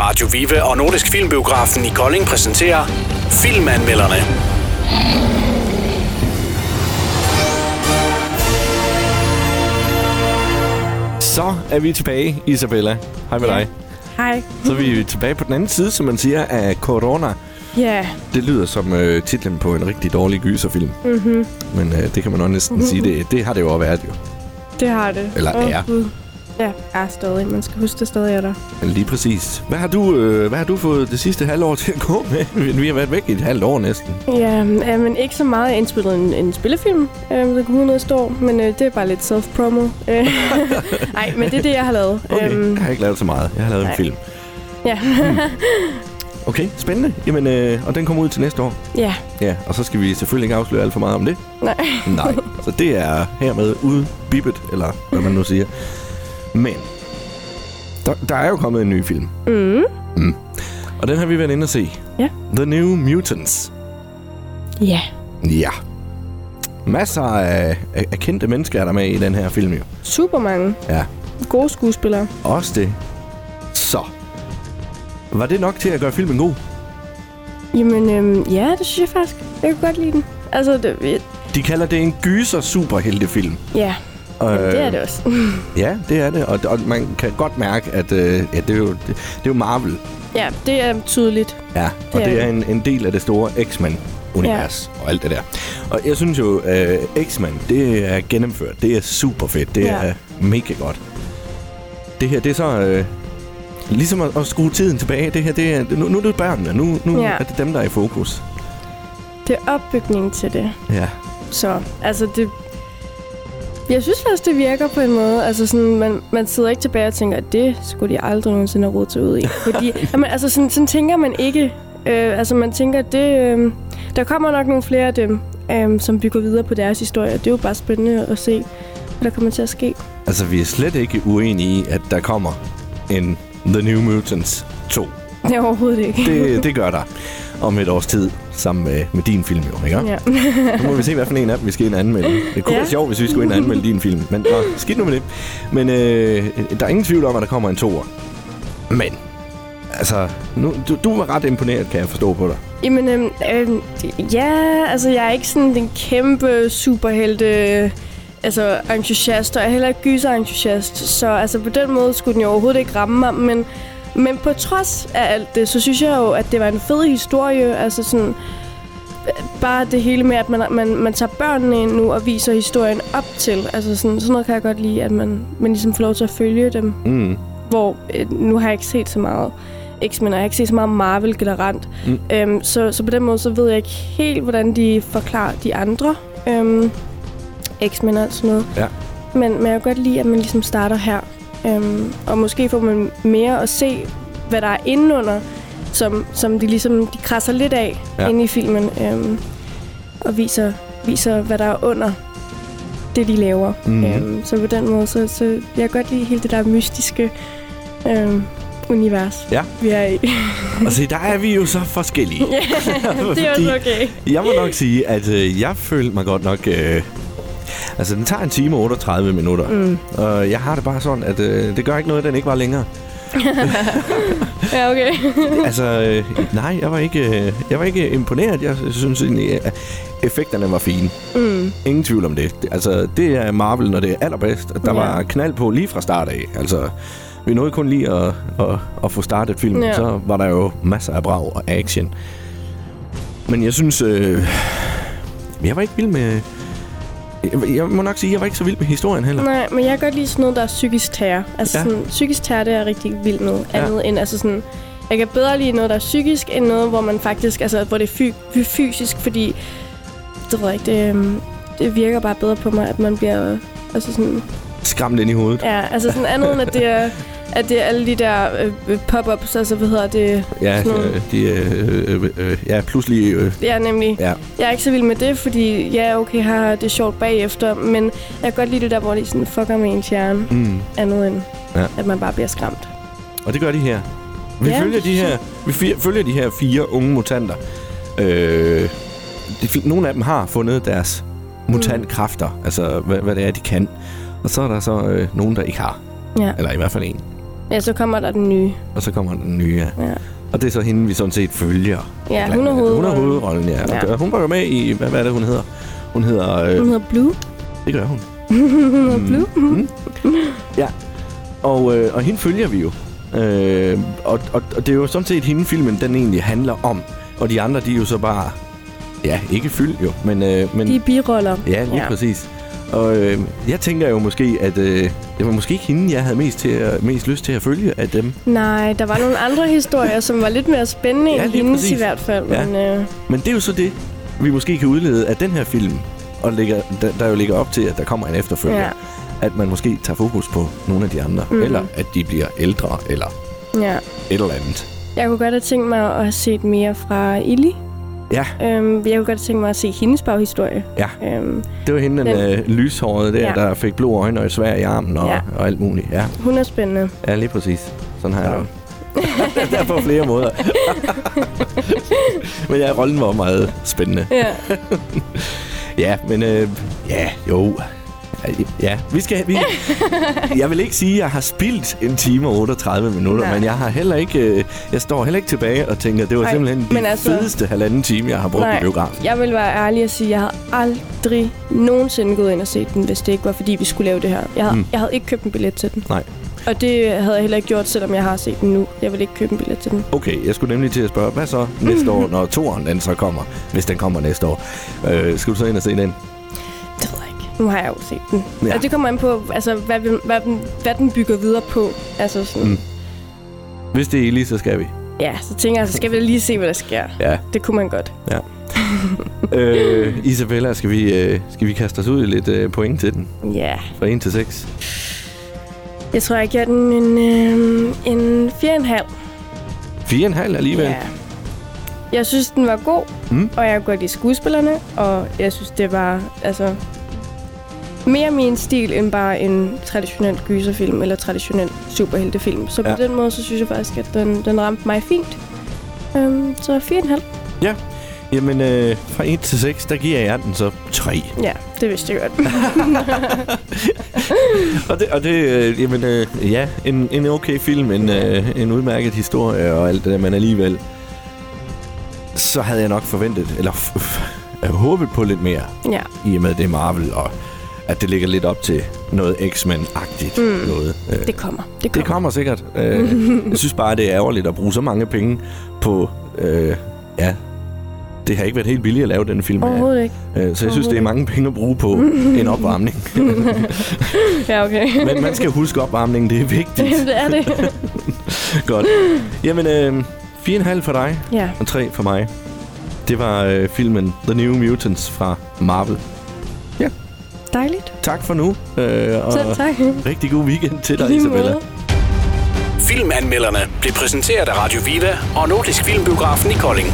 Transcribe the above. Radio Vive og Nordisk Filmbiografen i Kolding præsenterer Filmanmelderne. Så er vi tilbage, Isabella. Hej med Ja. dig. Hej. Så er vi tilbage på den anden side, som man siger, af corona. Ja, Det lyder som øh, titlen på en rigtig dårlig gyserfilm. Mm-hmm. Men øh, det kan man nok næsten sige, det, det har det jo at være jo. det har det. Eller Åh, er. Gud. Ja, er stadig. Man skal huske, det stadig er der. Men Lige præcis. Hvad har, du, øh, hvad har du fået det sidste halvår til at gå med? Vi har været væk i et halvt år næsten. Ja, øh, men ikke så meget. Jeg indspillede en, en spillefilm, øh, der kom ud noget står, men øh, det er bare lidt self-promo. Øh, Nej, men det er det, jeg har lavet. Okay, øhm, jeg har ikke lavet så meget. Jeg har lavet nej. en nej. film. ja. Okay, spændende. Jamen, øh, og den kommer ud til næste år. ja, Ja, og så skal vi selvfølgelig ikke afsløre alt for meget om det. nej. Nej. Så det er hermed udbibbet, eller hvad man nu siger. Men, der, der er jo kommet en ny film. Mm. Og den har vi været inde og se. Ja. The New Mutants. Ja, Ja. Masser af, af, af kendte mennesker er der med i den her film jo. super mange Ja. gode skuespillere. Også det. Så. Var det nok til at gøre filmen god? Jamen, øh, ja, det synes jeg faktisk. Jeg kan godt lide den. Altså, det, De kalder det en gyser superheltefilm. ja, Og, øh. det er det også. Ja, det er det. Og, og man kan godt mærke, at øh, ja, det, er jo, det, det er jo Marvel. ja, det er tydeligt. Ja, og Det er det er det. en, en del af det store X-Men-univers ja. og alt det der. Og jeg synes jo, øh, X-Men, det er gennemført. Det er super fedt. Det ja. Ja. er mega godt. Det her, det er så... Øh, ligesom at, at skrue tiden tilbage. Det her, det er... Nu, nu er det børnene. Nu, nu ja. Ja. er det dem, der er i fokus. Det er opbygningen til det. Ja. Så altså det... Jeg synes faktisk, det virker på en måde. Altså sådan, man, man sidder ikke tilbage og tænker, at det skulle de aldrig nogensinde have råd til ud i. Fordi, jamen, altså sådan, sådan tænker man ikke. Øh, altså man tænker, at det, øh, der kommer nok nogle flere af dem, øh, som bygger videre på deres historie. Og det er jo bare spændende at se, hvad der kommer til at ske. Altså, vi er slet ikke uenige i, at der kommer en The New Mutants 2. Det er overhovedet ikke. Det, det gør der om et års tid, sammen med, med din film jo, ikke? Ja. Nu må vi se, hvad for en af dem, vi skal ind og anmelde. Det kunne ja. Ja. være sjovt, hvis vi skulle ind og anmelde din film. Men nå, skidt nu med det. Men øh, der er ingen tvivl om, at der kommer en toer. Men, altså, nu, du, du var ret imponeret, kan jeg forstå på dig. Jamen, øhm, øhm, ja, altså jeg er ikke sådan den kæmpe superhelte altså entusiast, og jeg er heller ikke gyser-entusiast. Så altså på den måde skulle den jo overhovedet ikke ramme mig, men, men på trods af alt det, så synes jeg jo, at det var en fed historie. Altså sådan, øh, bare det hele med, at man, man, man tager børnene ind nu og viser historien op til. Altså sådan, sådan noget kan jeg godt lide, at man, man ligesom får lov til at følge dem Mm. hvor øh, nu har jeg ikke set så meget X-Men, og jeg har ikke set så meget Marvel generelt. Mm. Mm. Øhm, så, så på den måde, så ved jeg ikke helt, hvordan de forklarer de andre øhm, X-Men og sådan noget. Ja. Men, men jeg kan godt lide, at man ligesom starter her. Øhm, og måske får man mere at se, hvad der er indenunder, som, som de ligesom de krasser lidt af Ja. ja. inde i filmen. Øhm, og viser, viser, hvad der er under det, de laver. Mhm. Mm. Øhm, så på den måde, så, så jeg kan godt lide hele det der mystiske øhm, univers, Ja. vi er i. Og se, der er vi jo så forskellige. Ja, det er Fordi også okay. Jeg må nok sige, at øh, jeg følte mig godt nok... Øh, altså, den tager en time og 38 minutter. Mm. Og jeg har det bare sådan, at øh, det gør ikke noget, at den ikke var længere. Ja, okay. Altså, øh, nej, jeg var ikke, øh, jeg var ikke imponeret. Jeg synes egentlig, at effekterne var fine. Mm. Ingen tvivl om det. Det- Altså, det er Marvel, når det er allerbedst. Der Ja. var knald på lige fra start af. Altså, vi nåede kun lige at, at, at få startet filmen. Ja. Så var der jo masser af brag og action. Men jeg synes... Øh, jeg var ikke vild med... Jeg, jeg må nok sige, at jeg var ikke så vild med historien heller. Nej, men jeg kan godt lide sådan noget, der er psykisk terror. Altså Ja. ja. sådan, psykisk terror, det er jeg rigtig vild med. Ja. Andet end, altså sådan, jeg kan bedre lide noget, der er psykisk, end noget, hvor man faktisk, altså hvor det er fy- fysisk, fordi, det ved jeg ikke, det, øhm, det virker bare bedre på mig, at man bliver, øh, altså sådan, Skræmt ind i hovedet. Ja, altså sådan andet end, at det er, at det er alle de der øh, øh, pop-ups, altså hvad hedder det? Ja, sådan nogle- øh, de, øh, øh, øh, ja pludselig... Øh, Det er nemlig. ja. Jeg er ikke så vild med det, fordi ja, okay, her er det sjovt bagefter, men jeg kan godt lide det der, hvor de sådan fucker med ens hjerne, Mm. andet end, Ja. ja. at man bare bliver skræmt. Og det gør de her. Vi, ja, Ja, følger, det de synes her, vi fi- følger de her fire unge mutanter. Øh, de, fl- nogle af dem har fundet deres mutantkræfter, Mm. altså hvad, hvad det er, de kan. Og så er der så øh, nogen, der ikke har. Ja, Eller i hvert fald en. Ja, så kommer der den nye. Og så kommer den nye, ja. Ja, Og det er så hende, vi sådan set følger. ja hun er Hun er hovedrollen. hovedrollen, ja. Ja. ja. Hun var jo med i, hvad, hvad er det, hun hedder? Hun hedder... Øh, Hun hedder Blue. Det gør hun. Mm. Hun hedder Blue. Ja. Og, øh, og hende følger vi jo. Øh, og, og, og det er jo sådan set hende, filmen den egentlig handler om. Og de andre, de er jo så bare... Ja, ikke fyld jo, men... Øh, men De er biroller. Ja, lige ja. præcis. Og øh, jeg tænker jo måske, at øh, det var måske ikke hende, jeg havde mest, til at, mest lyst til at følge af dem. Nej, der var nogle andre historier, som var lidt mere spændende Ja, end lige hendes præcis. i hvert fald. Ja. Ja. Men, øh, Men det er jo så det, vi måske kan udlede af den her film, og ligger, der, der jo ligger op til, at der kommer en efterfølger. Ja. Ja. At man måske tager fokus på nogle af de andre, mm. eller at de bliver ældre, eller ja. et eller andet. Jeg kunne godt have tænkt mig at have set mere fra Illy. Ja, Øhm, jeg kunne godt tænke mig at se hendes baghistorie. ja. Øhm, Det var hende, den, øh, lyshårede der, Ja. ja. der fik blå øjne og et svær i armen og, Ja. ja. og alt muligt. Ja. hun er spændende. ja, lige præcis. Sådan har jeg det også. der er på flere måder. Men ja, rollen var meget spændende. Ja. Ja, men øh, ja, jo. Ja, vi skal... Vi, jeg vil ikke sige, at jeg har spildt en time og 38 minutter, Nej. Nej. men jeg har heller ikke... Øh, jeg står heller ikke tilbage og tænker, det var Nej, Ej, simpelthen men den altså- altså, fedeste halvanden time, jeg har brugt i biografen. jeg vil være ærlig og sige, at jeg havde aldrig nogensinde gået ind og set den, hvis det ikke var, fordi vi skulle lave det her. Jeg havde, mm. jeg havde ikke købt en billet til den. Nej. Og det havde jeg heller ikke gjort, selvom jeg har set den nu. Jeg ville ikke købe en billet til den. Okay, jeg skulle nemlig til at spørge, hvad så næste år, når toeren den så kommer? Hvis den kommer næste år. Øh, skal du så ind og se den? Det ved jeg ikke. Nu har jeg jo set den. Ja. Ja. Og det kommer an på, altså, hvad, vi, hvad, den, hvad den bygger videre på. Altså sådan, mm. Hvis det er Eli, så skal vi. Ja, så tænker jeg, så skal vi da lige se, hvad der sker. Ja. Det kunne man godt. ja. øh, Isabella, skal vi, øh, skal vi kaste os ud i lidt øh, point til den? Ja. Fra 1 til 6? Jeg tror, jeg giver den en, øh, en 4,5. 4,5 alligevel. Ja. Jeg synes, den var god, Mm. og jeg går de skuespillerne, og jeg synes, det var altså, mere min stil end bare en traditionel gyserfilm eller traditionel superheltefilm. Så ja. Ja. på den måde, så synes jeg faktisk, at den, den ramte mig fint. Um, så 4,5. Ja. Jamen, øh, fra 1 til 6, der giver jeg den så 3. Ja, det vidste jeg godt. Og det, og det øh, jamen, øh, ja, en, en okay film, en, øh, en udmærket historie og alt det der, men alligevel, så havde jeg nok forventet, eller f- f- håbet på lidt mere, ja. i og med det er Marvel, og at det ligger lidt op til noget X-Men-agtigt mm. noget. Øh, Det kommer. Det Det kommer. kommer sikkert. Øh, jeg synes bare, det er ærgerligt at bruge så mange penge på... Øh, ja, det har ikke været helt billigt at lave den film. her. Overhovedet ikke. Øh, så jeg synes, det er mange penge at bruge på en opvarmning. Ja, okay. Men man skal huske opvarmningen, det er vigtigt. det er det. Godt. Jamen, øh, 4,5 for dig ja. og 3 for mig. Det var øh, filmen The New Mutants fra Marvel. Dejligt. Tak for nu, øh, og Selv tak. rigtig god weekend til dig, Lige Isabella. måde. Filmanmelderne blev præsenteret af Radio Viva og Nordisk Filmbiografen i Kolding.